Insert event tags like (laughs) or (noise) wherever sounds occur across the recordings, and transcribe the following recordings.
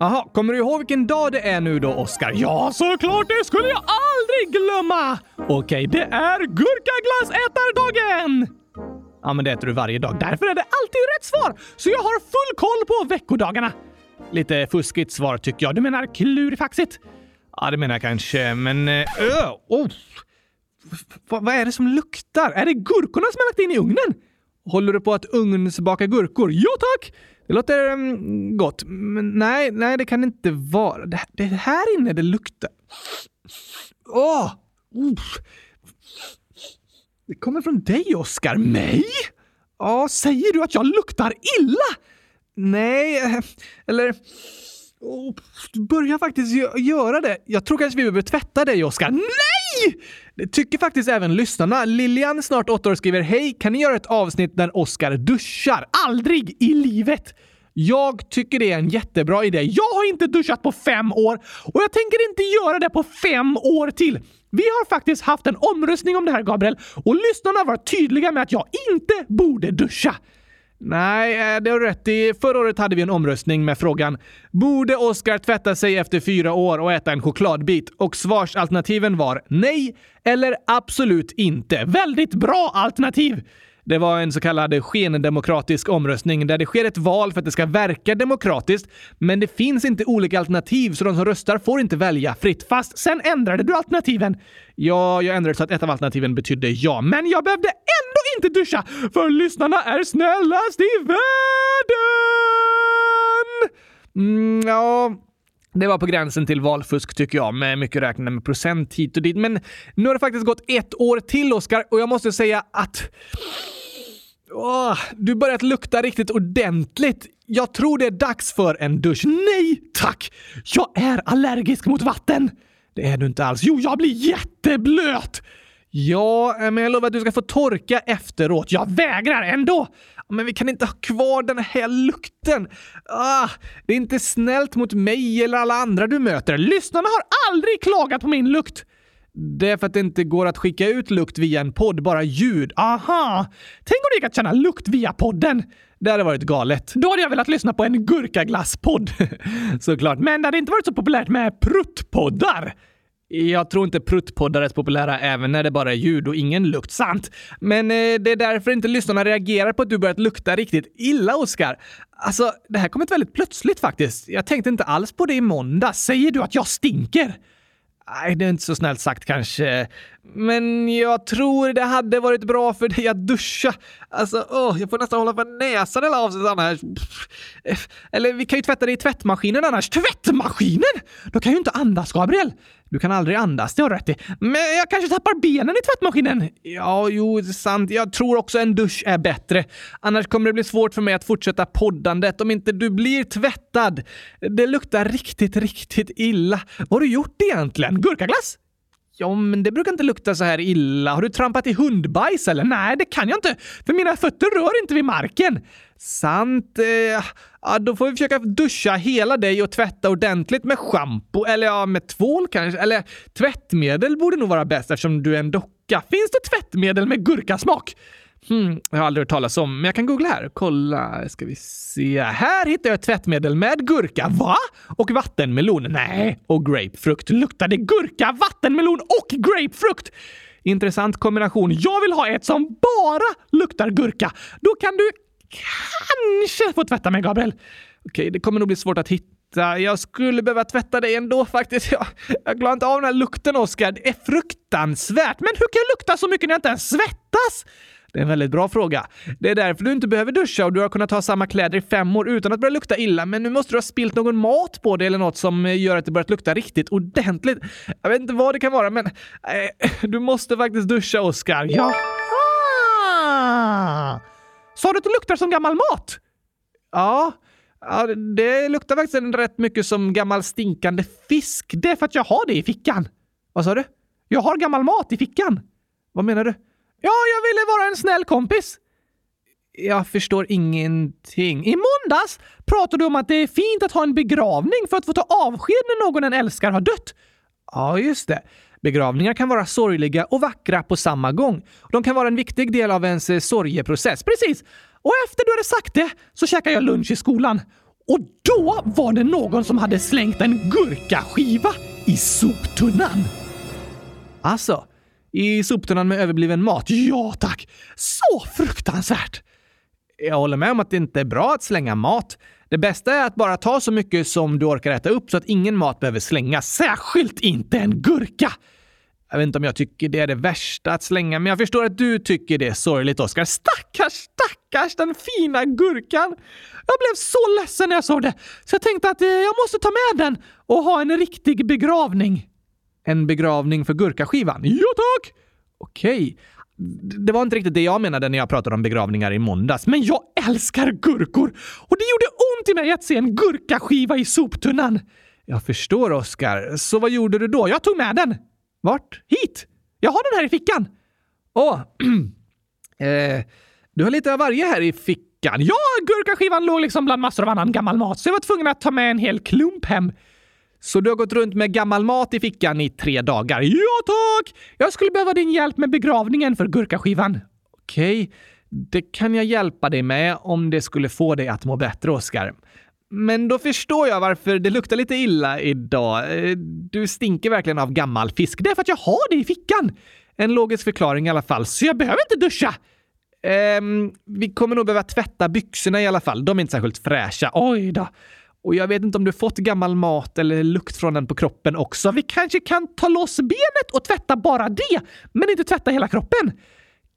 Aha, kommer du ihåg vilken dag det är nu då, Oskar? Ja, såklart! Det skulle jag aldrig glömma! Okej, det är gurkaglassätardagen! Ja, men det äter du varje dag. Därför är det alltid rätt svar! Så jag har full koll på veckodagarna. Lite fuskigt svar tycker jag. Du menar klurifaxigt? Ja, det menar jag kanske, men... eh, Öh! oh. Va, vad är det som luktar? Är det gurkorna som jag lagt in i ugnen? Håller du på att ugnsbaka gurkor? Ja tack! Det låter mm, gott. Men nej, nej, det kan inte vara. Det, det är här inne det luktar. Åh! uff. Det kommer från dig, Oskar. Mig? Ja, säger du att jag luktar illa? Nej, eh, eller... Oh, du börjar faktiskt gö- göra det. Jag tror kanske vi behöver tvätta dig, Oskar. Nej! Det tycker faktiskt även lyssnarna. Lilian, snart åtta år, skriver Hej, kan ni göra ett avsnitt där Oskar duschar? Aldrig i livet! Jag tycker det är en jättebra idé. Jag har inte duschat på fem år och jag tänker inte göra det på fem år till. Vi har faktiskt haft en omröstning om det här, Gabriel, och lyssnarna var tydliga med att jag inte borde duscha. Nej, eh, det har du rätt i. Förra året hade vi en omröstning med frågan “Borde Oscar tvätta sig efter fyra år och äta en chokladbit?” och svarsalternativen var nej eller absolut inte. Väldigt bra alternativ! Det var en så kallad skendemokratisk omröstning där det sker ett val för att det ska verka demokratiskt, men det finns inte olika alternativ så de som röstar får inte välja fritt. Fast sen ändrade du alternativen. Ja, jag ändrade så att ett av alternativen betydde ja, men jag behövde ändå inte duscha för lyssnarna är snällast i världen! Mm, ja, det var på gränsen till valfusk tycker jag, med mycket räknande med procent hit och dit. Men nu har det faktiskt gått ett år till, Oskar, och jag måste säga att... Åh, du börjat lukta riktigt ordentligt. Jag tror det är dags för en dusch. Nej tack! Jag är allergisk mot vatten! Det är du inte alls. Jo, jag blir jätteblöt! Ja, eh, men jag lovar att du ska få torka efteråt. Jag vägrar ändå! Men vi kan inte ha kvar den här lukten. Ah, det är inte snällt mot mig eller alla andra du möter. Lyssnarna har aldrig klagat på min lukt! Det är för att det inte går att skicka ut lukt via en podd, bara ljud. Aha! Tänk om det gick att känna lukt via podden! Det hade varit galet. Då hade jag velat lyssna på en gurkaglasspodd. (laughs) Såklart. Men det hade inte varit så populärt med pruttpoddar. Jag tror inte pruttpoddar är så populära även när det bara är ljud och ingen lukt. Sant! Men eh, det är därför inte lyssnarna reagerar på att du börjat lukta riktigt illa, Oskar. Alltså, det här kom ett väldigt plötsligt faktiskt. Jag tänkte inte alls på det i måndag. Säger du att jag stinker? Nej, det är inte så snällt sagt kanske. Men jag tror det hade varit bra för dig att duscha. Alltså, åh, jag får nästan hålla för näsan hela avsnittet annars. Pff. Eh, Eller vi kan ju tvätta det i tvättmaskinen annars. Tvättmaskinen? Då kan jag ju inte andas, Gabriel. Du kan aldrig andas, det har du rätt i. Men jag kanske tappar benen i tvättmaskinen? Ja, jo, det är sant. Jag tror också en dusch är bättre. Annars kommer det bli svårt för mig att fortsätta poddandet om inte du blir tvättad. Det luktar riktigt, riktigt illa. Vad har du gjort egentligen? Gurkaglass? Ja, men det brukar inte lukta så här illa. Har du trampat i hundbajs eller? Nej, det kan jag inte, för mina fötter rör inte vid marken. Sant. Eh, ja, då får vi försöka duscha hela dig och tvätta ordentligt med schampo, eller ja, med tvål kanske. Eller tvättmedel borde nog vara bäst eftersom du är en docka. Finns det tvättmedel med gurkasmak? Hmm, jag har aldrig hört talas om, men jag kan googla här. Kolla, ska vi se. Här hittar jag ett tvättmedel med gurka, va? Och vattenmelon. Nej, och grapefrukt. Luktar det gurka, vattenmelon och grapefrukt? Intressant kombination. Jag vill ha ett som bara luktar gurka. Då kan du kanske få tvätta mig, Gabriel. Okej, det kommer nog bli svårt att hitta Titta, jag skulle behöva tvätta dig ändå faktiskt. (laughs) Jag, jag klarar inte av den här lukten, Oskar. Det är fruktansvärt. Men hur kan jag lukta så mycket när jag inte ens svettas? Det är en väldigt bra fråga. Det är därför du inte behöver duscha och du har kunnat ha samma kläder i fem år utan att börja lukta illa. Men nu måste du ha spilt någon mat på dig eller något som gör att det börjat lukta riktigt ordentligt. Jag vet inte vad det kan vara, men eh, du måste faktiskt duscha, Oskar. Jaha! Sa du att du luktar som gammal mat? Ja. ja, det luktar faktiskt rätt mycket som gammal stinkande fisk. Det är för att jag har det i fickan. Vad sa du? Jag har gammal mat i fickan. Vad menar du? Ja, jag ville vara en snäll kompis. Jag förstår ingenting. I måndags pratade du om att det är fint att ha en begravning för att få ta avsked när någon en älskar har dött. Ja, just det. Begravningar kan vara sorgliga och vackra på samma gång. De kan vara en viktig del av ens eh, sorgeprocess. Precis! Och efter du hade sagt det så käkade jag lunch i skolan. Och då var det någon som hade slängt en gurkaskiva i soptunnan. Alltså, i soptunnan med överbliven mat? Ja tack! Så fruktansvärt! Jag håller med om att det inte är bra att slänga mat. Det bästa är att bara ta så mycket som du orkar äta upp så att ingen mat behöver slängas. Särskilt inte en gurka! Jag vet inte om jag tycker det är det värsta att slänga, men jag förstår att du tycker det är sorgligt, Oskar. Stackars, stackars den fina gurkan! Jag blev så ledsen när jag såg det, så jag tänkte att eh, jag måste ta med den och ha en riktig begravning. En begravning för gurkaskivan? Ja tack! Okej. D- Det var inte riktigt det jag menade när jag pratade om begravningar i måndags, men jag älskar gurkor! Och det gjorde ont i mig att se en gurkaskiva i soptunnan! Jag förstår, Oskar. Så vad gjorde du då? Jag tog med den! Vart? Hit! Jag har den här i fickan! Åh, (clears throat) eh, du har lite av varje här i fickan. Ja, gurkaskivan låg liksom bland massor av annan gammal mat, så jag var tvungen att ta med en hel klump hem. Så du har gått runt med gammal mat i fickan i tre dagar? Ja tack! Jag skulle behöva din hjälp med begravningen för gurkaskivan. Okej, det kan jag hjälpa dig med om det skulle få dig att må bättre, Oskar. Men då förstår jag varför det luktar lite illa idag. Eh, Du stinker verkligen av gammal fisk. Det är för att jag har det i fickan! En logisk förklaring i alla fall, så jag behöver inte duscha! Ehm, vi kommer nog behöva tvätta byxorna i alla fall. De är inte särskilt fräscha. Oj då. Och jag vet inte om du fått gammal mat eller lukt från den på kroppen också. Vi kanske kan ta loss benet och tvätta bara det, men inte tvätta hela kroppen.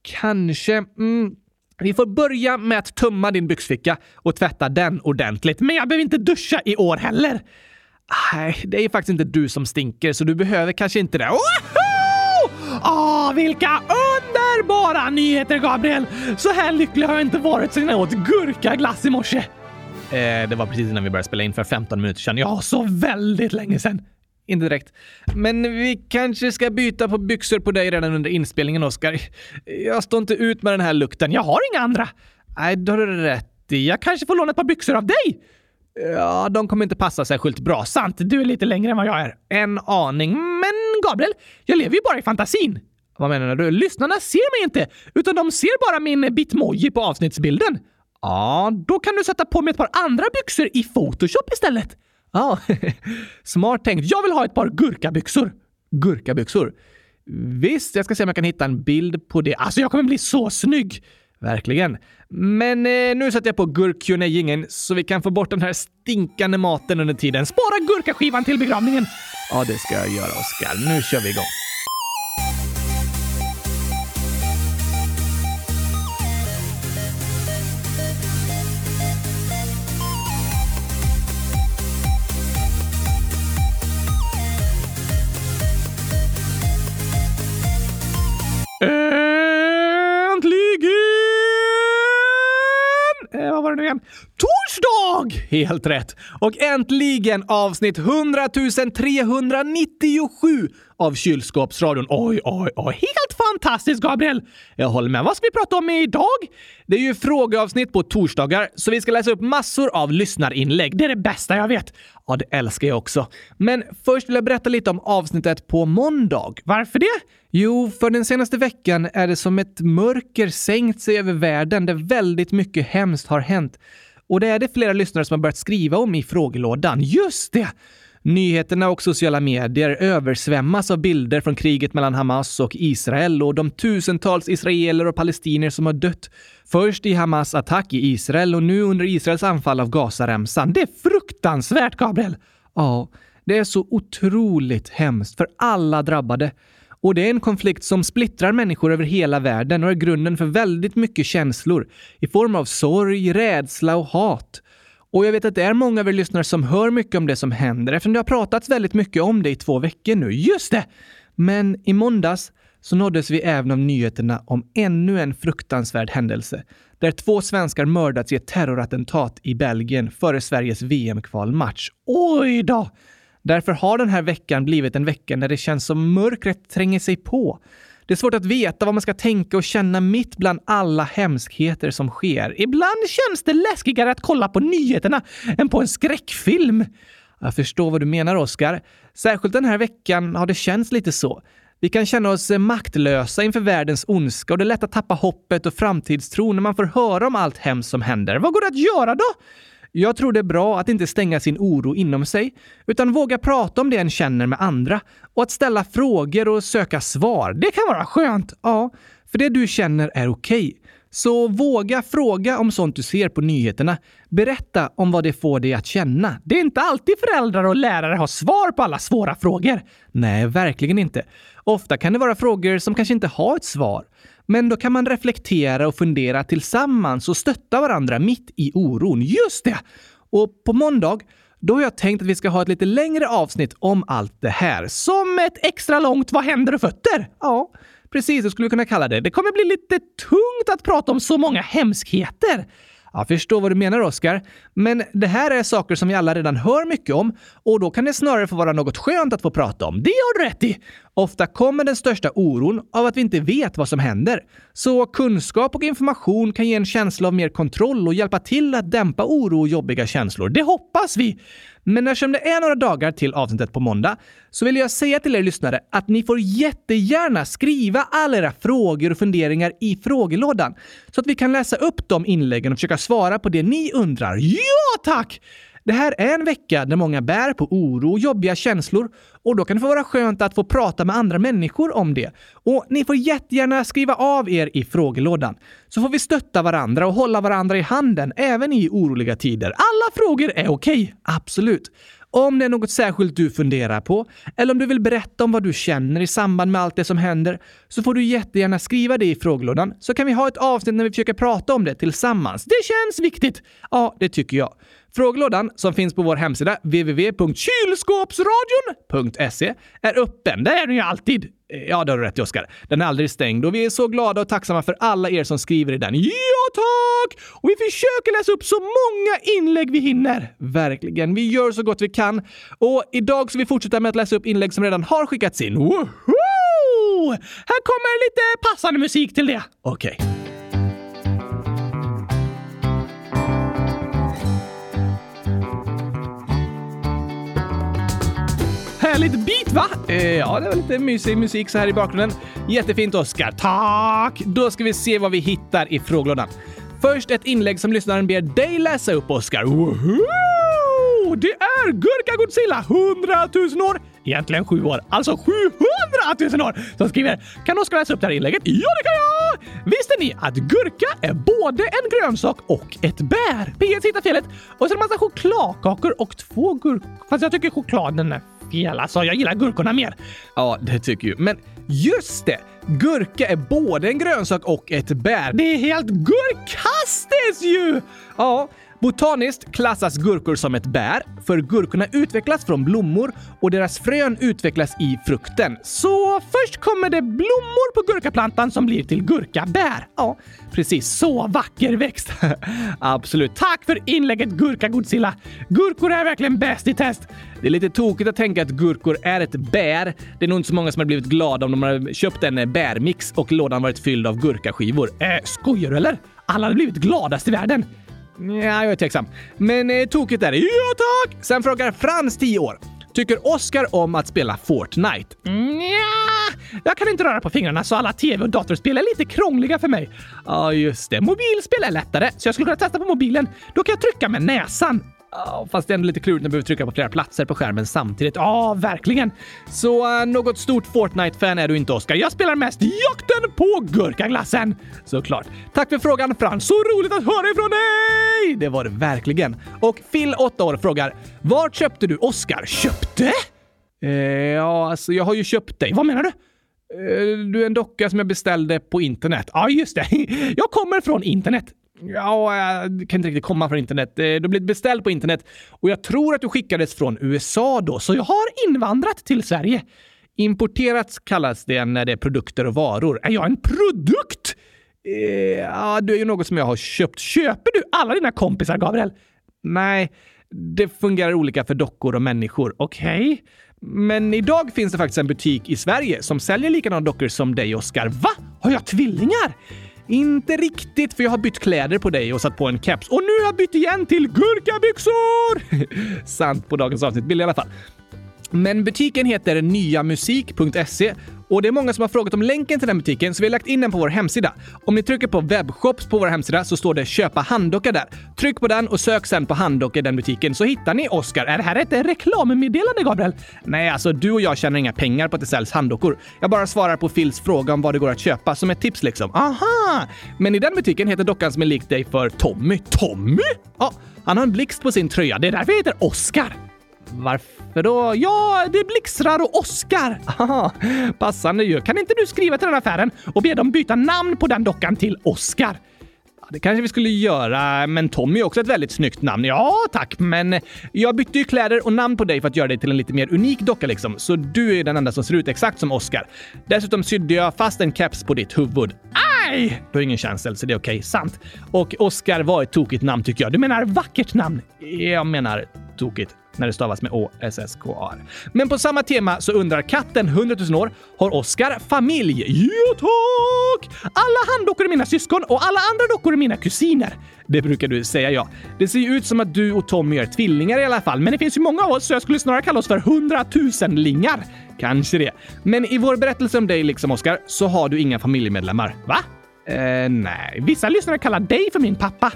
Kanske. Mm. Vi får börja med att tömma din byxficka och tvätta den ordentligt. Men jag behöver inte duscha i år heller. Nej, det är ju faktiskt inte du som stinker, så du behöver kanske inte det. Woho! Åh, vilka underbara nyheter, Gabriel! Så här lycklig har jag inte varit sedan jag åt gurkaglass i morse. Eh, det var precis innan vi började spela in för 15 minuter sedan. Ja, så väldigt länge sedan. Inte direkt. Men vi kanske ska byta på byxor på dig redan under inspelningen, Oskar. Jag står inte ut med den här lukten. Jag har inga andra. Nej, då har du rätt i. Jag kanske får låna ett par byxor av dig. Ja, de kommer inte passa särskilt bra. Sant, du är lite längre än vad jag är. En aning. Men Gabriel, jag lever ju bara i fantasin. Vad menar du? Lyssnarna ser mig inte, utan de ser bara min bitmoji på avsnittsbilden. Ja, då kan du sätta på mig ett par andra byxor i Photoshop istället. Ja, (laughs) smart tänkt. Jag vill ha ett par gurkabyxor. Gurkabyxor? Visst, jag ska se om jag kan hitta en bild på det. Alltså, jag kommer bli så snygg! Verkligen. Men eh, nu sätter jag på gurkjunejingen så vi kan få bort den här stinkande maten under tiden. Spara gurkaskivan till begravningen! Ja, det ska jag göra, Oskar. Nu kör vi igång. Äntligen! Eh, vad var det nu igen? Torsdag! Helt rätt! Och äntligen avsnitt 100 397 av Kylskåpsradion. Oj, oj, oj. Helt fantastiskt, Gabriel! Jag håller med. Vad ska vi prata om idag? Det är ju frågeavsnitt på torsdagar, så vi ska läsa upp massor av lyssnarinlägg. Det är det bästa jag vet. Ja, det älskar jag också. Men först vill jag berätta lite om avsnittet på måndag. Varför det? Jo, för den senaste veckan är det som ett mörker sänkt sig över världen där väldigt mycket hemskt har hänt. Och det är det flera lyssnare som har börjat skriva om i frågelådan. Just det! Nyheterna och sociala medier översvämmas av bilder från kriget mellan Hamas och Israel och de tusentals israeler och palestinier som har dött. Först i Hamas attack i Israel och nu under Israels anfall av Gazaremsan. Det är fruktansvärt, Gabriel! Ja, det är så otroligt hemskt för alla drabbade. Och det är en konflikt som splittrar människor över hela världen och är grunden för väldigt mycket känslor i form av sorg, rädsla och hat. Och jag vet att det är många av er lyssnare som hör mycket om det som händer eftersom det har pratats väldigt mycket om det i två veckor nu. Just det! Men i måndags så nåddes vi även av nyheterna om ännu en fruktansvärd händelse där två svenskar mördats i ett terrorattentat i Belgien före Sveriges VM-kvalmatch. Oj då! Därför har den här veckan blivit en vecka när det känns som mörkret tränger sig på. Det är svårt att veta vad man ska tänka och känna mitt bland alla hemskheter som sker. Ibland känns det läskigare att kolla på nyheterna än på en skräckfilm. Jag förstår vad du menar, Oskar. Särskilt den här veckan har det känts lite så. Vi kan känna oss eh, maktlösa inför världens ondska och det är lätt att tappa hoppet och framtidstron när man får höra om allt hemskt som händer. Vad går det att göra då? Jag tror det är bra att inte stänga sin oro inom sig, utan våga prata om det en känner med andra. Och att ställa frågor och söka svar, det kan vara skönt! Ja, för det du känner är okej. Så våga fråga om sånt du ser på nyheterna. Berätta om vad det får dig att känna. Det är inte alltid föräldrar och lärare har svar på alla svåra frågor. Nej, verkligen inte. Ofta kan det vara frågor som kanske inte har ett svar. Men då kan man reflektera och fundera tillsammans och stötta varandra mitt i oron. Just det! Och på måndag, då har jag tänkt att vi ska ha ett lite längre avsnitt om allt det här. Som ett extra långt Vad händer och fötter? Ja, precis. Det skulle vi kunna kalla det. Det kommer bli lite tungt att prata om så många hemskheter. Jag förstår vad du menar, Oskar. Men det här är saker som vi alla redan hör mycket om och då kan det snarare få vara något skönt att få prata om. Det har du rätt i! Ofta kommer den största oron av att vi inte vet vad som händer. Så kunskap och information kan ge en känsla av mer kontroll och hjälpa till att dämpa oro och jobbiga känslor. Det hoppas vi! Men eftersom det är några dagar till avsnittet på måndag så vill jag säga till er lyssnare att ni får jättegärna skriva alla era frågor och funderingar i frågelådan så att vi kan läsa upp de inläggen och försöka svara på det ni undrar. Ja, tack! Det här är en vecka där många bär på oro och jobbiga känslor och då kan det få vara skönt att få prata med andra människor om det. Och ni får jättegärna skriva av er i frågelådan. Så får vi stötta varandra och hålla varandra i handen även i oroliga tider. Alla frågor är okej, absolut. Om det är något särskilt du funderar på eller om du vill berätta om vad du känner i samband med allt det som händer så får du jättegärna skriva det i frågelådan så kan vi ha ett avsnitt när vi försöker prata om det tillsammans. Det känns viktigt! Ja, det tycker jag. Frågelådan som finns på vår hemsida www.kylskåpsradion.se är öppen. Där är den ju alltid. Ja, det har du rätt i Oskar. Den är aldrig stängd och vi är så glada och tacksamma för alla er som skriver i den. Ja, tack! Och vi försöker läsa upp så många inlägg vi hinner. Verkligen, vi gör så gott vi kan. Och idag ska vi fortsätta med att läsa upp inlägg som redan har skickats in. Woho! Här kommer lite passande musik till det. Okej. Härligt beat va? Eh, ja, det var lite mysig musik så här i bakgrunden. Jättefint Oskar. Tack! Då ska vi se vad vi hittar i frågelådan. Först ett inlägg som lyssnaren ber dig läsa upp Oskar. Woho! Det är Gurka Godzilla 100 000 år, egentligen 7 år, alltså 700 000 år som skriver “Kan Oskar läsa upp det här inlägget?” Ja, det kan jag! Visste ni att gurka är både en grönsak och ett bär? PS hittar felet. Och så är det massa chokladkakor och två gurk... Fast jag tycker chokladen är fel. Alltså, jag gillar gurkorna mer. Ja, det tycker ju. Men just det! Gurka är både en grönsak och ett bär. Det är helt gurkastiskt ju! Ja, botaniskt klassas gurkor som ett bär, för gurkorna utvecklas från blommor och deras frön utvecklas i frukten. Så först kommer det blommor på gurkaplantan som blir till gurkabär. Ja, precis. Så vacker växt! (laughs) Absolut. Tack för inlägget Gurka Godzilla! Gurkor är verkligen bäst i test! Det är lite tokigt att tänka att gurkor är ett bär. Det är nog inte så många som har blivit glada om de har köpt en bärmix och lådan varit fylld av gurkaskivor. Eh, skojar du eller? Alla hade blivit gladast i världen. Ja, jag är tveksam. Men eh, tokigt är det. Ja, tack! Sen frågar Frans, 10 år. Tycker Oscar om att spela Fortnite? Nja, jag kan inte röra på fingrarna så alla tv och datorspel är lite krångliga för mig. Ja, just det. Mobilspel är lättare, så jag skulle kunna testa på mobilen. Då kan jag trycka med näsan. Ja, fast det är ändå lite klurigt när man behöver trycka på flera platser på skärmen samtidigt. Ja, verkligen. Så eh, något stort Fortnite-fan är du inte, Oskar. Jag spelar mest jakten på gurkaglassen. Såklart. Tack för frågan, Frans. Så roligt att höra ifrån dig! Det var det verkligen. Och Phil, 8 år, frågar Vart köpte du Oskar? Köpte? Eh, ja, alltså jag har ju köpt dig. Vad menar du? Eh, Du är en docka som jag beställde på internet. Ja, just det. (laughs) Jag kommer från internet. Ja, jag kan inte riktigt komma från internet. Eh, Du blev beställd på internet och jag tror att du skickades från USA då, så jag har invandrat till Sverige. Importerat kallas det när det är produkter och varor. Är jag en produkt? Eh, Ja, du är ju något som jag har köpt. Köper du alla dina kompisar, Gabriel? Nej, det fungerar olika för dockor och människor. Okej. Men idag finns det faktiskt en butik i Sverige som säljer likadana dockor som dig, Oskar. Va? Har jag tvillingar? Inte riktigt, för jag har bytt kläder på dig och satt på en keps. Och nu har jag bytt igen till gurkabyxor! (laughs) Sant på dagens avsnitt, billig i alla fall. Men butiken heter nyamusik.se Och det är många som har frågat om länken till den butiken så vi har lagt in den på vår hemsida. Om ni trycker på webbshops på vår hemsida så står det köpa handdocka där. Tryck på den och sök sen på handdocka i den butiken så hittar ni Oscar. Är det här ett reklammeddelande Gabriel? Nej, alltså du och jag tjänar inga pengar på att det säljs handdockor. Jag bara svarar på Phils fråga om vad det går att köpa som ett tips liksom. Aha! Men i den butiken heter dockan som är lik dig för Tommy. Tommy? Ja, han har en blixt på sin tröja. Det är därför jag heter Oscar. Varför då? Ja, det blixtrar och åskar! Aha, Passande ju. Kan inte du skriva till den affären och be dem byta namn på den dockan till Oscar? Ja, Det kanske vi skulle göra, men Tommy är också ett väldigt snyggt namn. Ja, tack, men jag bytte ju kläder och namn på dig för att göra dig till en lite mer unik docka liksom, så du är den enda som ser ut exakt som Oscar. Dessutom sydde jag fast en keps på ditt huvud. Aj! Du har ingen känsel, så det är okej. Sant. Och Oscar var ett tokigt namn tycker jag. Du menar vackert namn? Jag menar tokigt när det stavas med O-S-S-K-A-R. Men på samma tema så undrar katten 100 000 år, har Oscar familj? Ja tack! Alla handdockor är mina syskon och alla andra dockor är mina kusiner. Det brukar du säga ja. Det ser ju ut som att du och Tommy är tvillingar i alla fall, men det finns ju många av oss så jag skulle snarare kalla oss för hundratusenlingar. Kanske det. Men i vår berättelse om dig, liksom Oscar, så har du inga familjemedlemmar. Va? Eh, nej. Vissa lyssnare kallar dig för min pappa.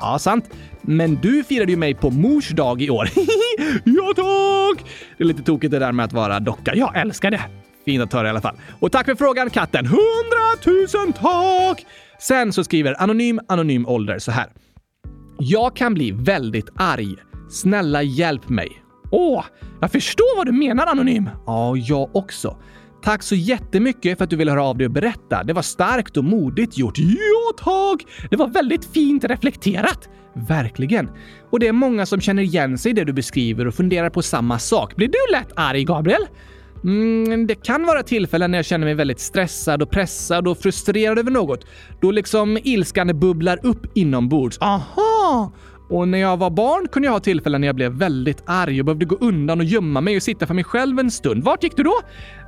Ja, sant. Men du firade ju mig på mors dag i år. (laughs) ja, tack! Det är lite tokigt det där med att vara docka. Jag älskar det. Fint att höra i alla fall. Och tack för frågan, katten. Hundratusen tack! Sen så skriver Anonym Anonym Ålder så här. Jag kan bli väldigt arg. Snälla hjälp mig. Åh, jag förstår vad du menar Anonym. Ja, jag också. Tack så jättemycket för att du ville höra av dig och berätta. Det var starkt och modigt gjort. Ja, tack! Det var väldigt fint reflekterat. Verkligen. Och det är många som känner igen sig i det du beskriver och funderar på samma sak. Blir du lätt arg, Gabriel? Mm, det kan vara tillfällen när jag känner mig väldigt stressad och pressad och frustrerad över något. Då liksom ilskan bubblar upp inombords. Aha! Och när jag var barn kunde jag ha tillfällen när jag blev väldigt arg och behövde gå undan och gömma mig och sitta för mig själv en stund. Vart gick du då?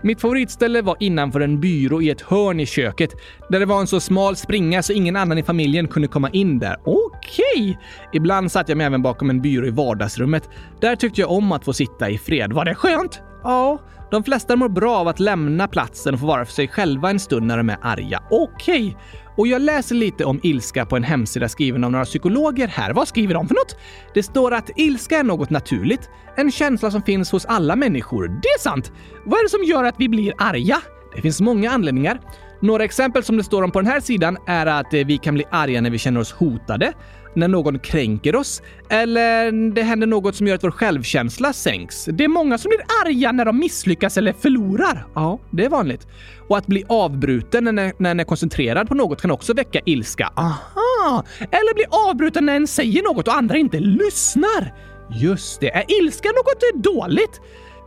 Mitt favoritställe var innanför en byrå i ett hörn i köket där det var en så smal springa så ingen annan i familjen kunde komma in där. Okej! Ibland satt jag mig även bakom en byrå i vardagsrummet. Där tyckte jag om att få sitta i fred. Var det skönt? Ja, de flesta mår bra av att lämna platsen och få vara för sig själva en stund när de är arga. Okej! Och jag läser lite om ilska på en hemsida skriven av några psykologer här. Vad skriver de för något? Det står att ilska är något naturligt, en känsla som finns hos alla människor. Det är sant! Vad är det som gör att vi blir arga? Det finns många anledningar. Några exempel som det står om på den här sidan är att eh, vi kan bli arga när vi känner oss hotade, när någon kränker oss eller det händer något som gör att vår självkänsla sänks. Det är många som blir arga när de misslyckas eller förlorar. Ja, det är vanligt. Och att bli avbruten när, när en är koncentrerad på något kan också väcka ilska. Aha! Eller bli avbruten när en säger något och andra inte lyssnar. Just det. Är ilska något dåligt?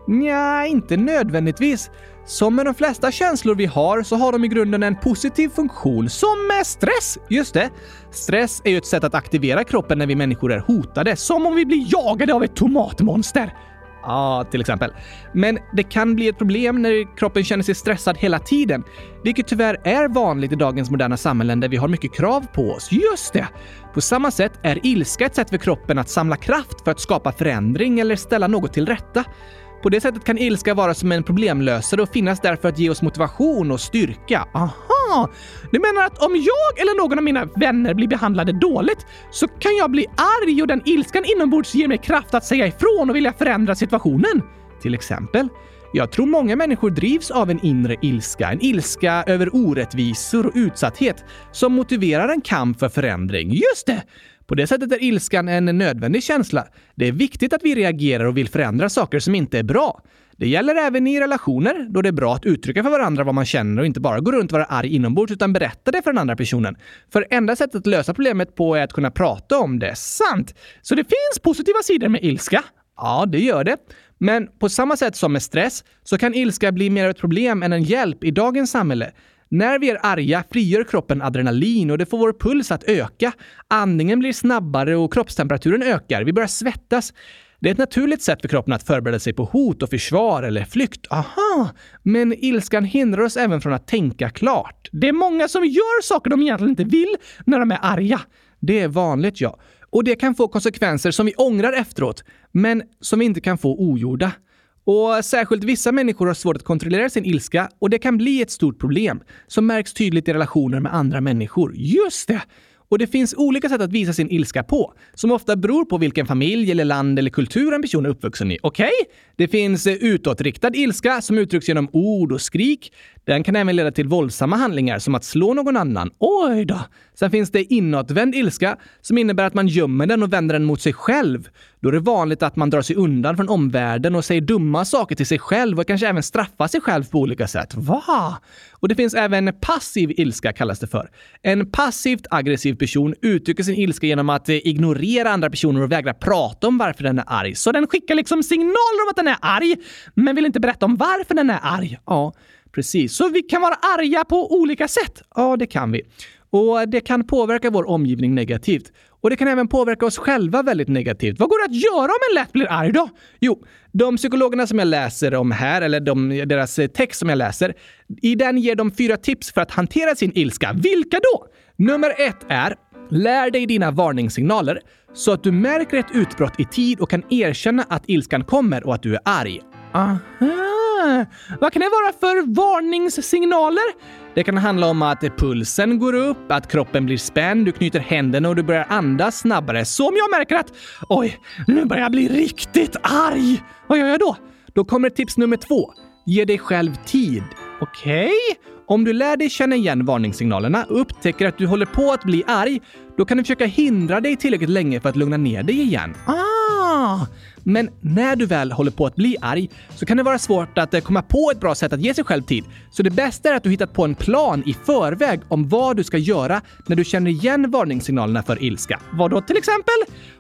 Nja, inte nödvändigtvis. Som med de flesta känslor vi har så har de i grunden en positiv funktion, som med stress. Just det. Stress är ju ett sätt att aktivera kroppen när vi människor är hotade, som om vi blir jagade av ett tomatmonster. Ja, till exempel. Men det kan bli ett problem när kroppen känner sig stressad hela tiden, vilket tyvärr är vanligt i dagens moderna samhällen där vi har mycket krav på oss. Just det! På samma sätt är ilska ett sätt för kroppen att samla kraft för att skapa förändring eller ställa något till rätta. På det sättet kan ilska vara som en problemlösare och finnas där för att ge oss motivation och styrka. Aha! Du menar att om jag eller någon av mina vänner blir behandlade dåligt så kan jag bli arg och den ilskan inombords ger mig kraft att säga ifrån och vilja förändra situationen? Till exempel. Jag tror många människor drivs av en inre ilska, en ilska över orättvisor och utsatthet som motiverar en kamp för förändring. Just det! På det sättet är ilskan en nödvändig känsla. Det är viktigt att vi reagerar och vill förändra saker som inte är bra. Det gäller även i relationer, då det är bra att uttrycka för varandra vad man känner och inte bara gå runt och vara arg inombords utan berätta det för den andra personen. För enda sättet att lösa problemet på är att kunna prata om det. Sant! Så det finns positiva sidor med ilska. Ja, det gör det. Men på samma sätt som med stress så kan ilska bli mer ett problem än en hjälp i dagens samhälle. När vi är arga frigör kroppen adrenalin och det får vår puls att öka. Andningen blir snabbare och kroppstemperaturen ökar. Vi börjar svettas. Det är ett naturligt sätt för kroppen att förbereda sig på hot och försvar eller flykt. Aha! Men ilskan hindrar oss även från att tänka klart. Det är många som gör saker de egentligen inte vill när de är arga. Det är vanligt, ja. Och det kan få konsekvenser som vi ångrar efteråt, men som vi inte kan få ogjorda. Och särskilt vissa människor har svårt att kontrollera sin ilska och det kan bli ett stort problem som märks tydligt i relationer med andra människor. Just det! Och det finns olika sätt att visa sin ilska på, som ofta beror på vilken familj, eller land eller kultur en person är uppvuxen i. Okej? Det finns eh, utåtriktad ilska som uttrycks genom ord och skrik. Den kan även leda till våldsamma handlingar som att slå någon annan. Oj då! Sen finns det inåtvänd ilska som innebär att man gömmer den och vänder den mot sig själv. Då är det vanligt att man drar sig undan från omvärlden och säger dumma saker till sig själv och kanske även straffar sig själv på olika sätt. Va? Och det finns även passiv ilska kallas det för. En passivt aggressiv person uttrycker sin ilska genom att eh, ignorera andra personer och vägra prata om varför den är arg. Så den skickar liksom signaler om att den är arg, men vill inte berätta om varför den är arg. Ja, precis. Så vi kan vara arga på olika sätt. Ja, det kan vi. Och det kan påverka vår omgivning negativt. Och det kan även påverka oss själva väldigt negativt. Vad går det att göra om en lätt blir arg då? Jo, de psykologerna som jag läser om här, eller de, deras eh, text som jag läser, i den ger de fyra tips för att hantera sin ilska. Vilka då? Nummer ett är Lär dig dina varningssignaler så att du märker ett utbrott i tid och kan erkänna att ilskan kommer och att du är arg. Aha! Ah, Vad kan det vara för varningssignaler? Det kan handla om att pulsen går upp, att kroppen blir spänd, du knyter händerna och du börjar andas snabbare. Så om jag märker att oj, nu börjar jag bli riktigt arg. Vad gör jag då? Då kommer tips nummer två. Ge dig själv tid. Okej? Om du lär dig känna igen varningssignalerna och upptäcker att du håller på att bli arg, då kan du försöka hindra dig tillräckligt länge för att lugna ner dig igen. Ah! Men när du väl håller på att bli arg så kan det vara svårt att eh, komma på ett bra sätt att ge sig själv tid. Så det bästa är att du hittat på en plan i förväg om vad du ska göra när du känner igen varningssignalerna för ilska. Vad då till exempel?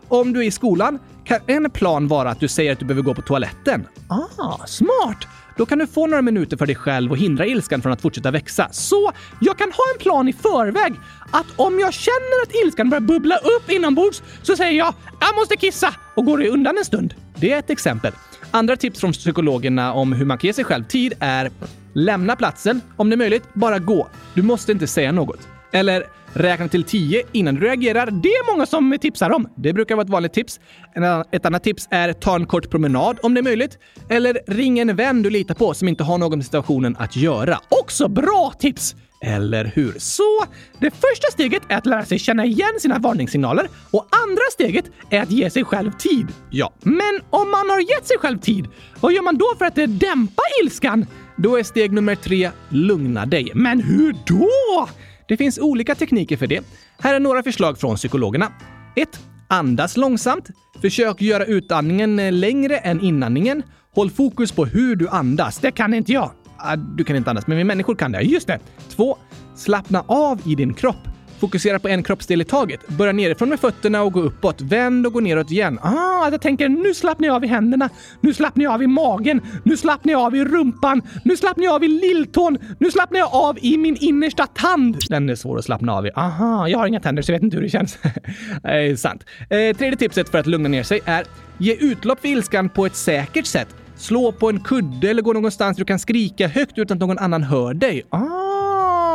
Om du är i skolan kan en plan vara att du säger att du behöver gå på toaletten. Ah, smart! Då kan du få några minuter för dig själv och hindra ilskan från att fortsätta växa. Så jag kan ha en plan i förväg att om jag känner att ilskan börjar bubbla upp inombords så säger jag “Jag måste kissa” och går undan en stund. Det är ett exempel. Andra tips från psykologerna om hur man kan ge sig själv tid är Lämna platsen, om det är möjligt, bara gå. Du måste inte säga något. Eller räkna till 10 innan du reagerar. Det är många som tipsar om. Det brukar vara ett vanligt tips. En annan- Ett annat tips är ta en kort promenad om det är möjligt. Eller ring en vän du litar på som inte har någon med situationen att göra. Också bra tips! Eller hur? Så det första steget är att lära sig känna igen sina varningssignaler och andra steget är att ge sig själv tid. Ja, men om man har gett sig själv tid, vad gör man då för att eh, dämpa ilskan? Då är steg nummer tre lugna dig. Men hur då? Det finns olika tekniker för det. Här är några förslag från psykologerna. 1. Andas långsamt. Försök göra utandningen eh, längre än inandningen. Håll fokus på hur du andas. Det kan inte jag. Ah, Du kan inte andas, men vi människor kan det. Just det. 2. Slappna av i din kropp. Fokusera på en kroppsdel i taget. Börja nerifrån med fötterna och gå uppåt. Vänd och gå neråt igen. Ah, att jag tänker nu slappnar jag av i händerna. Nu slappnar jag av i magen. Nu slappnar jag av i rumpan. Nu slappnar jag av i lilltån. Nu slappnar jag av i min innersta tand. Den är svår att slappna av i. Aha, jag har inga tänder så jag vet inte hur det känns. (laughs) eh, sant. Eh, tredje tipset för att lugna ner sig är ge utlopp för ilskan på ett säkert sätt. Slå på en kudde eller gå någonstans där du kan skrika högt utan att någon annan hör dig. Ah.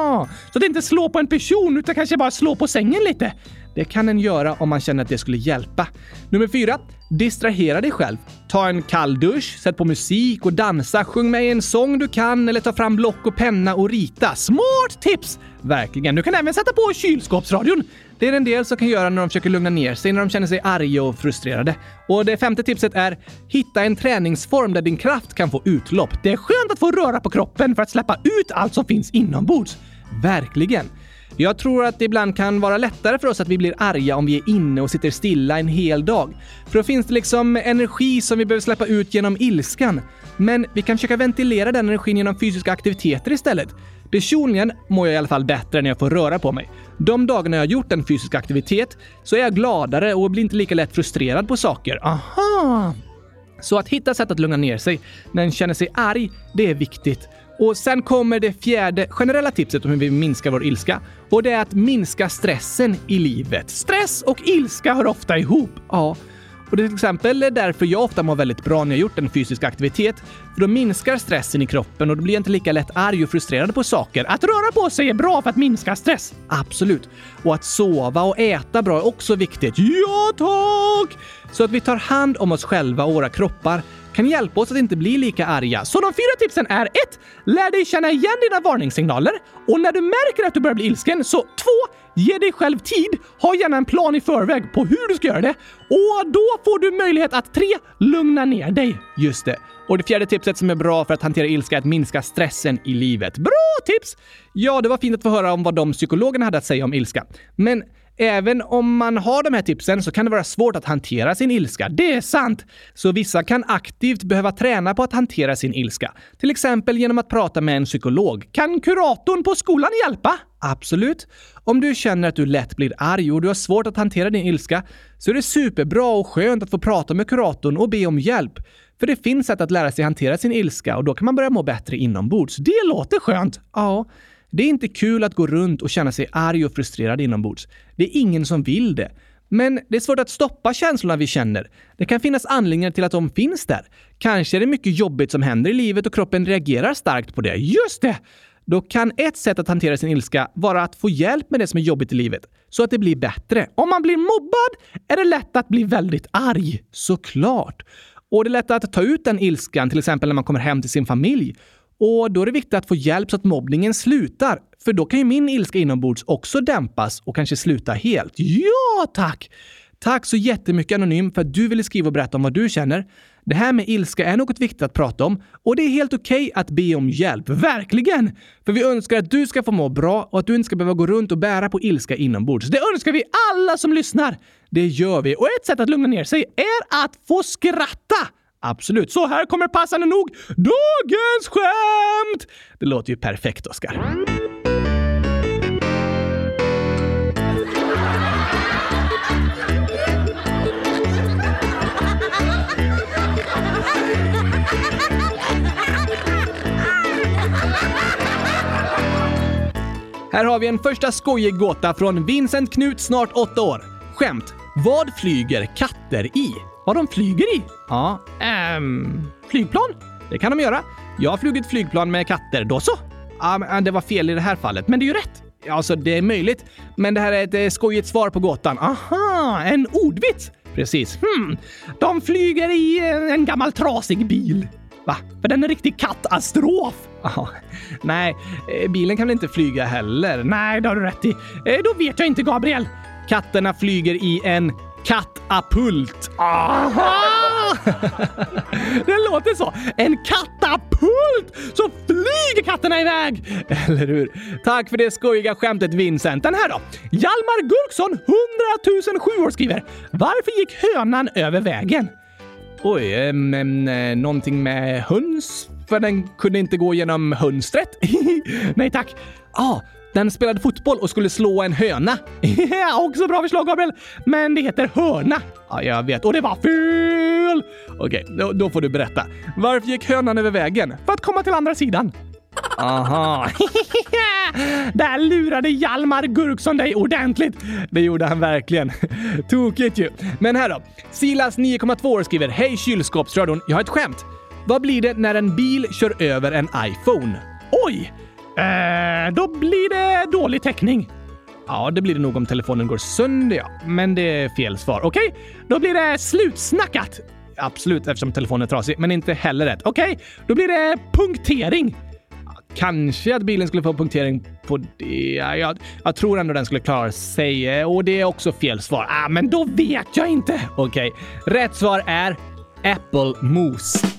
Ah, Så det är inte slå på en person utan kanske bara slå på sängen lite. Det kan en göra om man känner att det skulle hjälpa. Nummer fyra. Distrahera dig själv. Ta en kall dusch, sätt på musik och dansa. Sjung med i en sång du kan eller ta fram block och penna och rita. Smart tips! Verkligen. Du kan även sätta på kylskåpsradion. Det är en del som kan göra när de försöker lugna ner sig när de känner sig arga och frustrerade. Och det femte tipset är hitta en träningsform där din kraft kan få utlopp. Det är skönt att få röra på kroppen för att släppa ut allt som finns inombords. Verkligen. Jag tror att det ibland kan vara lättare för oss att vi blir arga om vi är inne och sitter stilla en hel dag. För då finns det liksom energi som vi behöver släppa ut genom ilskan. Men vi kan försöka ventilera den energin genom fysiska aktiviteter istället. Personligen mår jag i alla fall bättre när jag får röra på mig. De dagarna jag har gjort en fysisk aktivitet så är jag gladare och blir inte lika lätt frustrerad på saker. Aha! Så att hitta sätt att lugna ner sig när en känner sig arg, det är viktigt. Och sen kommer det fjärde generella tipset om hur vi minskar vår ilska. Och det är att minska stressen i livet. Stress och ilska hör ofta ihop. Ja. Och det är till exempel därför jag ofta mår väldigt bra när jag gjort en fysisk aktivitet. För då minskar stressen i kroppen och då blir jag inte lika lätt arg och frustrerad på saker. Att röra på sig är bra för att minska stress. Absolut. Och att sova och äta bra är också viktigt. Ja, tack! Så att vi tar hand om oss själva och våra kroppar kan hjälpa oss att inte bli lika arga. Så de fyra tipsen är 1. Lär dig känna igen dina varningssignaler. Och när du märker att du börjar bli ilsken, så 2. Ge dig själv tid. Ha gärna en plan i förväg på hur du ska göra det. Och då får du möjlighet att 3. Lugna ner dig. Just det. Och det fjärde tipset som är bra för att hantera ilska är att minska stressen i livet. Bra tips! Ja, det var fint att få höra om vad de psykologerna hade att säga om ilska. Men Även om man har de här tipsen så kan det vara svårt att hantera sin ilska. Det är sant! Så vissa kan aktivt behöva träna på att hantera sin ilska. Till exempel genom att prata med en psykolog. Kan kuratorn på skolan hjälpa? Absolut. Om du känner att du lätt blir arg och du har svårt att hantera din ilska så är det superbra och skönt att få prata med kuratorn och be om hjälp. För det finns sätt att lära sig hantera sin ilska och då kan man börja må bättre inombords. Det låter skönt! Ja. Det är inte kul att gå runt och känna sig arg och frustrerad inombords. Det är ingen som vill det. Men det är svårt att stoppa känslorna vi känner. Det kan finnas anledningar till att de finns där. Kanske är det mycket jobbigt som händer i livet och kroppen reagerar starkt på det. Just det! Då kan ett sätt att hantera sin ilska vara att få hjälp med det som är jobbigt i livet, så att det blir bättre. Om man blir mobbad är det lätt att bli väldigt arg. Såklart! Och det är lätt att ta ut den ilskan, till exempel när man kommer hem till sin familj. Och då är det viktigt att få hjälp så att mobbningen slutar. För då kan ju min ilska inombords också dämpas och kanske sluta helt. Ja, tack! Tack så jättemycket Anonym för att du ville skriva och berätta om vad du känner. Det här med ilska är något viktigt att prata om och det är helt okej att be om hjälp. Verkligen! För vi önskar att du ska få må bra och att du inte ska behöva gå runt och bära på ilska inombords. Det önskar vi alla som lyssnar! Det gör vi. Och ett sätt att lugna ner sig är att få skratta! Absolut, så här kommer passande nog dagens skämt! Det låter ju perfekt, Oskar. Här har vi en första skojig gåta från Vincent Knut, snart åtta år. Skämt. Vad flyger katter i? Vad de flyger i? Ja, ehm... Flygplan? Det kan de göra. Jag har flugit flygplan med katter. Då så? Ja, men äh, det var fel i det här fallet, men det är ju rätt. Alltså, det är möjligt. Men det här är ett eh, skojigt svar på gåtan. Aha, en ordvits! Precis. Hmm. De flyger i eh, en gammal trasig bil. Va? För den är en riktig katastrof! Aha. Nej, eh, bilen kan väl inte flyga heller? Nej, det har du rätt i. Eh, Då vet jag inte, Gabriel. Katterna flyger i en katapult. Aha! Det låter så. En katapult! Så flyger katterna iväg! Eller hur? Tack för det skojiga skämtet Vincent. Den här då? Hjalmar Gurksson, 100 007 år, skriver “Varför gick hönan över vägen?” Oj, eh, men eh, någonting med höns? För den kunde inte gå genom hönstret? (laughs) Nej tack. Ah, den spelade fotboll och skulle slå en höna. (laughs) Ja, också bra förslag Gabriel. Men det heter hörna. Ja, jag vet. Och det var fel! Okej, då, då får du berätta. Varför gick hönan över vägen? För att komma till andra sidan. Aha. (laughs) Där lurade Hjalmar Gurksson dig ordentligt. Det gjorde han verkligen. (laughs) Tokigt ju. Men här då. Silas 9,2 år skriver “Hej kylskåpsradion, jag har ett skämt. Vad blir det när en bil kör över en iPhone? Oj! Eh, då blir det dålig täckning. Ja, det blir det nog om telefonen går sönder, ja. Men det är fel svar. Okej, då blir det slutsnackat. Absolut, eftersom telefonen är trasig, men inte heller rätt. Okej, då blir det punktering. Kanske att bilen skulle få punktering på det. Jag, jag tror ändå den skulle klara sig eh, och det är också fel svar. Ah, men då vet jag inte. Okej, rätt svar är äppelmos. (laughs)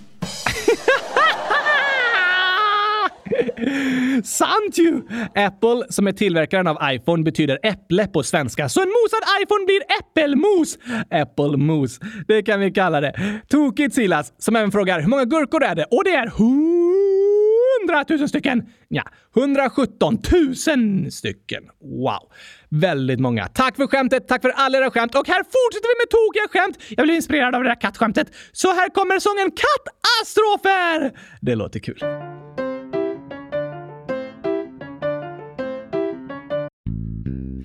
Sant ju! Apple, som är tillverkaren av iPhone, betyder äpple på svenska. Så en mosad iPhone blir äppelmos! Äppelmos, det kan vi kalla det. Tokigt Silas, som även frågar hur många gurkor är det? Och det är hundratusen stycken! Ja, 117 000 stycken. Wow. Väldigt många. Tack för skämtet, tack för alla era skämt och här fortsätter vi med tokiga skämt. Jag blev inspirerad av det där kattskämtet. Så här kommer sången Kattastrofer! Det låter kul.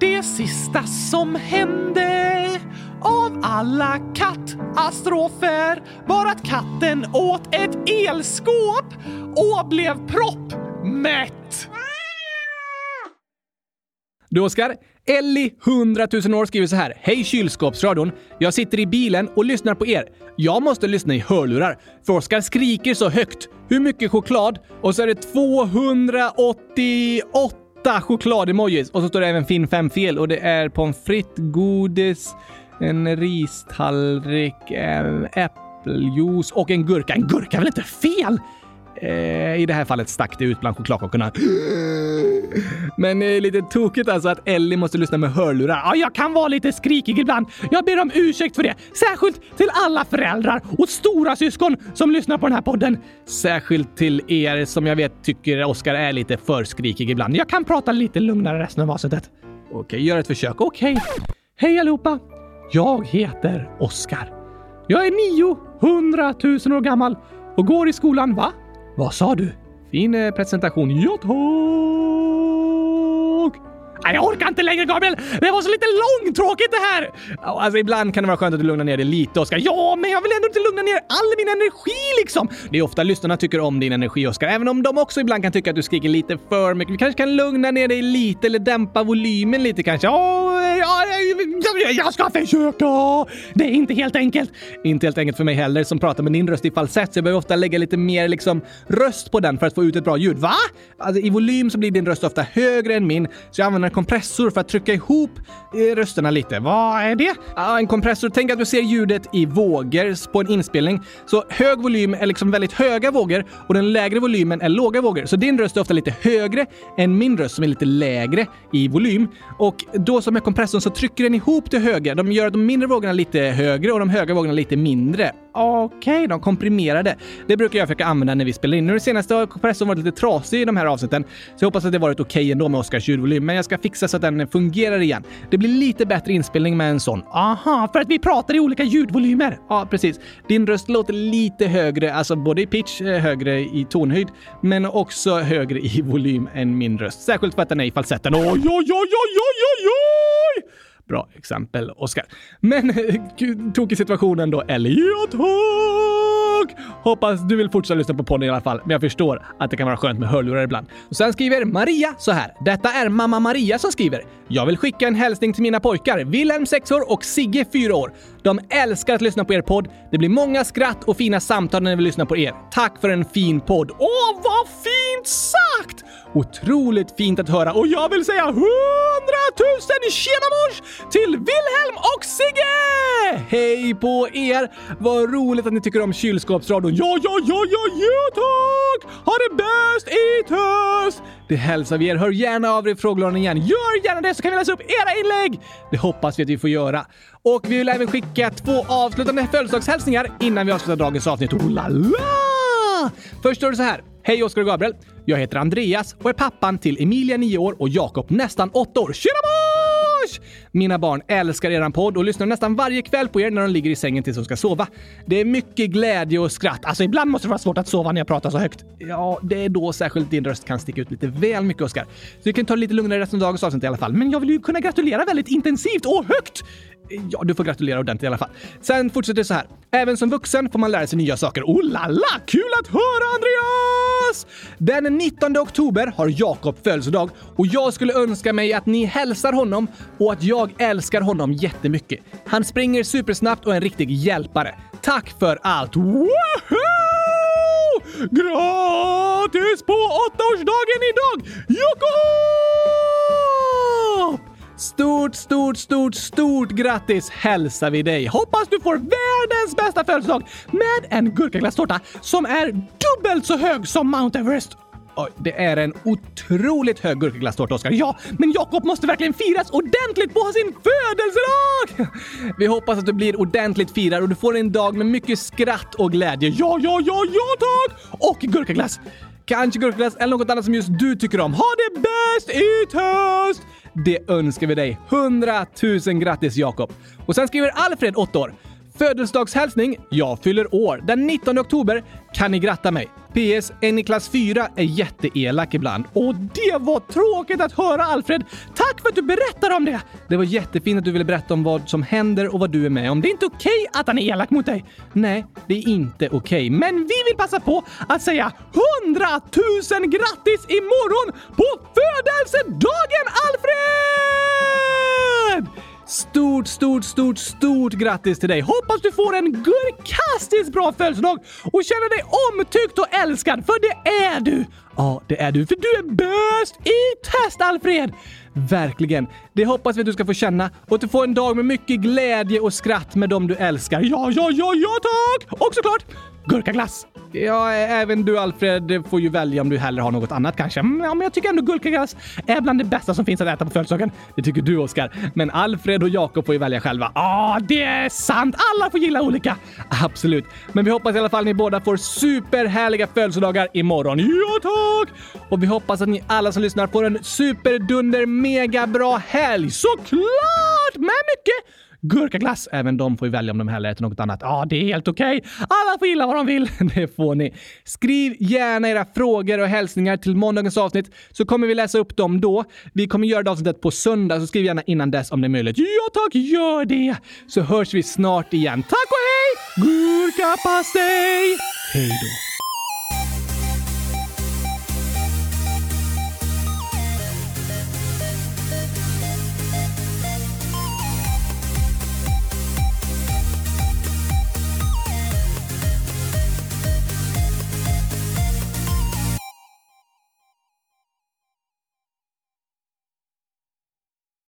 Det sista som hände av alla kattastrofer var att katten åt ett elskåp och blev proppmätt. Du Oskar, Ellie 100 000 år skriver så här. Hej kylskåpsradion! Jag sitter i bilen och lyssnar på er. Jag måste lyssna i hörlurar, för Oskar skriker så högt. Hur mycket choklad? Och så är det 288 choklademojis. Och så står det även Finn fem fel och det är pommes frites, godis, en ristallrik, en äppeljuice och en gurka. En gurka är väl inte fel? Eh, I det här fallet stack det ut bland chokladkakorna. Men eh, det är lite tokigt alltså att Ellie måste lyssna med hörlurar. Ja, jag kan vara lite skrikig ibland. Jag ber om ursäkt för det. Särskilt till alla föräldrar och stora syskon som lyssnar på den här podden. Särskilt till er som jag vet tycker Oscar är lite för skrikig ibland. Jag kan prata lite lugnare resten av avsnittet. Okej, gör ett försök. Okej. Hej allihopa! Jag heter Oskar. Jag är 900 000 år gammal och går i skolan, va? Vad sa du? Fin eh, presentation. Ja, tack! Nej, jag orkar inte längre Gabriel! Det var så lite långtråkigt det här! Ja, Alltså ibland kan det vara skönt att du lugnar ner dig lite Oskar. Ja, men jag vill ändå inte lugna ner all min energi liksom! Det är ofta lyssnarna tycker om din energi Oskar, även om de också ibland kan tycka att du skriker lite för mycket. Vi kanske kan lugna ner dig lite eller dämpa volymen lite kanske. Ja, ja, jag, jag ska försöka! Det är inte helt enkelt. Inte helt enkelt för mig heller som pratar med din röst i falsett så jag behöver ofta lägga lite mer liksom röst på den för att få ut ett bra ljud. Va? Alltså, I volym så blir din röst ofta högre än min så jag använder en kompressor för att trycka ihop eh, rösterna lite. Vad är det? Ja, en kompressor. Tänk att du ser ljudet i vågor på en inspelning. Så hög volym är liksom väldigt höga vågor och den lägre volymen är låga vågor. Så din röst är ofta lite högre än min röst som är lite lägre i volym. Och då som med kompressorn så trycker den ihop det höga. De gör de mindre vågorna lite högre och de höga vågorna lite mindre. Okej, de komprimerar det. Det brukar jag försöka använda när vi spelar in. Nu det senaste har kompressorn varit lite trasig i de här avsnitten, så jag hoppas att det varit okej ändå med Oscars ljudvolym, men jag ska fixa så att den fungerar igen. Det blir lite bättre inspelning med en sån. Aha, för att vi pratar i olika ljudvolymer. Ja, precis. Din röst låter lite högre, alltså både i pitch, eh, högre i tonhöjd, men också högre i volym än min röst. Särskilt för att den är i falsetten. Oj, oj, oj, oj, oj, oj, oj! Bra exempel, (laughs) Oskar. Men gud, tokig situationen då, Ellie. Ja, tack! Hoppas du vill fortsätta lyssna på podden i alla fall, men jag förstår att det kan vara skönt med hörlurar ibland. Och sen skriver Maria så här. Detta är mamma Maria som skriver. Jag vill skicka en hälsning till mina pojkar, Wilhelm 6 år och Sigge 4 år. De älskar att lyssna på er podd. Det blir många skratt och fina samtal när vi lyssnar på er. Tack för en fin podd. Åh, vad fint sagt! Otroligt fint att höra och jag vill säga hundratusen tjenamors till Wilhelm och Sigge! Hej på er! Vad roligt att ni tycker om kylskåpsradion. Ja, ja, ja, ja, ja tack! Ha det bäst i tös! Det hälsar vi er. Hör gärna av er i frågelådan igen. Gör gärna det så kan vi läsa upp era inlägg! Det hoppas vi att vi får göra. Och vi vill även skicka två avslutande födelsedagshälsningar innan vi avslutar dagens avsnitt. Oh la la! Först står det så här. Hej Oskar och Gabriel! Jag heter Andreas och är pappan till Emilia 9 år och Jakob nästan 8 år. Tjenamors! Mina barn älskar eran podd och lyssnar nästan varje kväll på er när de ligger i sängen tills de ska sova. Det är mycket glädje och skratt. Alltså ibland måste det vara svårt att sova när jag pratar så högt. Ja, det är då särskilt din röst kan sticka ut lite väl mycket Oskar. Så du kan ta det lite lugnare resten av dagens avsnitt i alla fall. Men jag vill ju kunna gratulera väldigt intensivt och högt! Ja, du får gratulera ordentligt i alla fall. Sen fortsätter det så här. Även som vuxen får man lära sig nya saker. Oh la la! Kul att höra Andreas! Den 19 oktober har Jakob födelsedag och jag skulle önska mig att ni hälsar honom och att jag älskar honom jättemycket. Han springer supersnabbt och är en riktig hjälpare. Tack för allt! Woho! Gratis på åttaårsdagen idag! Jakob! Stort, stort, stort, stort grattis hälsar vi dig! Hoppas du får världens bästa födelsedag med en gurkaglasstårta som är dubbelt så hög som Mount Everest! Oj, det är en otroligt hög gurkaglasstårta, Oskar. Ja, men Jakob måste verkligen firas ordentligt på sin födelsedag! (laughs) Vi hoppas att du blir ordentligt firad och du får en dag med mycket skratt och glädje. Ja, ja, ja, ja tack! Och gurkaglass! Kanske gurkaglass eller något annat som just du tycker om. Ha det bäst i töst! Det önskar vi dig. 100 000 grattis Jakob! Och sen skriver Alfred, 8 år. Födelsedagshälsning. Jag fyller år. Den 19 oktober kan ni gratta mig. PS. En i klass 4 är jätteelak ibland. Och det var tråkigt att höra Alfred! Tack för att du berättar om det! Det var jättefint att du ville berätta om vad som händer och vad du är med om. Det är inte okej att han är elak mot dig. Nej, det är inte okej. Men vi vill passa på att säga 100 000 grattis imorgon på födelsedagen Alfred! Stort, stort, stort, stort grattis till dig! Hoppas du får en gurkastiskt bra födelsedag och känner dig omtyckt och älskad, för det är du! Ja, det är du, för du är bäst i test, Alfred! Verkligen! Det hoppas vi att du ska få känna och att du får en dag med mycket glädje och skratt med dem du älskar. Ja, ja, ja, ja tack! Och såklart gurkaglass! Ja, även du Alfred får ju välja om du hellre har något annat kanske. Mm, Ja, men jag tycker ändå gurkaglass är bland det bästa som finns att äta på födelsedagen. Det tycker du Oskar. Men Alfred och Jakob får ju välja själva. Ja, det är sant! Alla får gilla olika. Absolut. Men vi hoppas i alla fall ni båda får superhärliga födelsedagar imorgon. Ja, tack! Och vi hoppas att ni alla som lyssnar får en superdunder mega bra helg. Såklart! Med mycket gurkaglass. Även de får ju välja om de hellre äter något annat. Ja, det är helt okej. Alla får gilla vad de vill. (laughs) Det får ni. Skriv gärna era frågor och hälsningar till måndagens avsnitt så kommer vi läsa upp dem då. Vi kommer göra det avsnittet på söndag så skriv gärna innan dess om det är möjligt. Ja tack, gör det! Så hörs vi snart igen. Tack och hej! Gurkapastej! Hej då!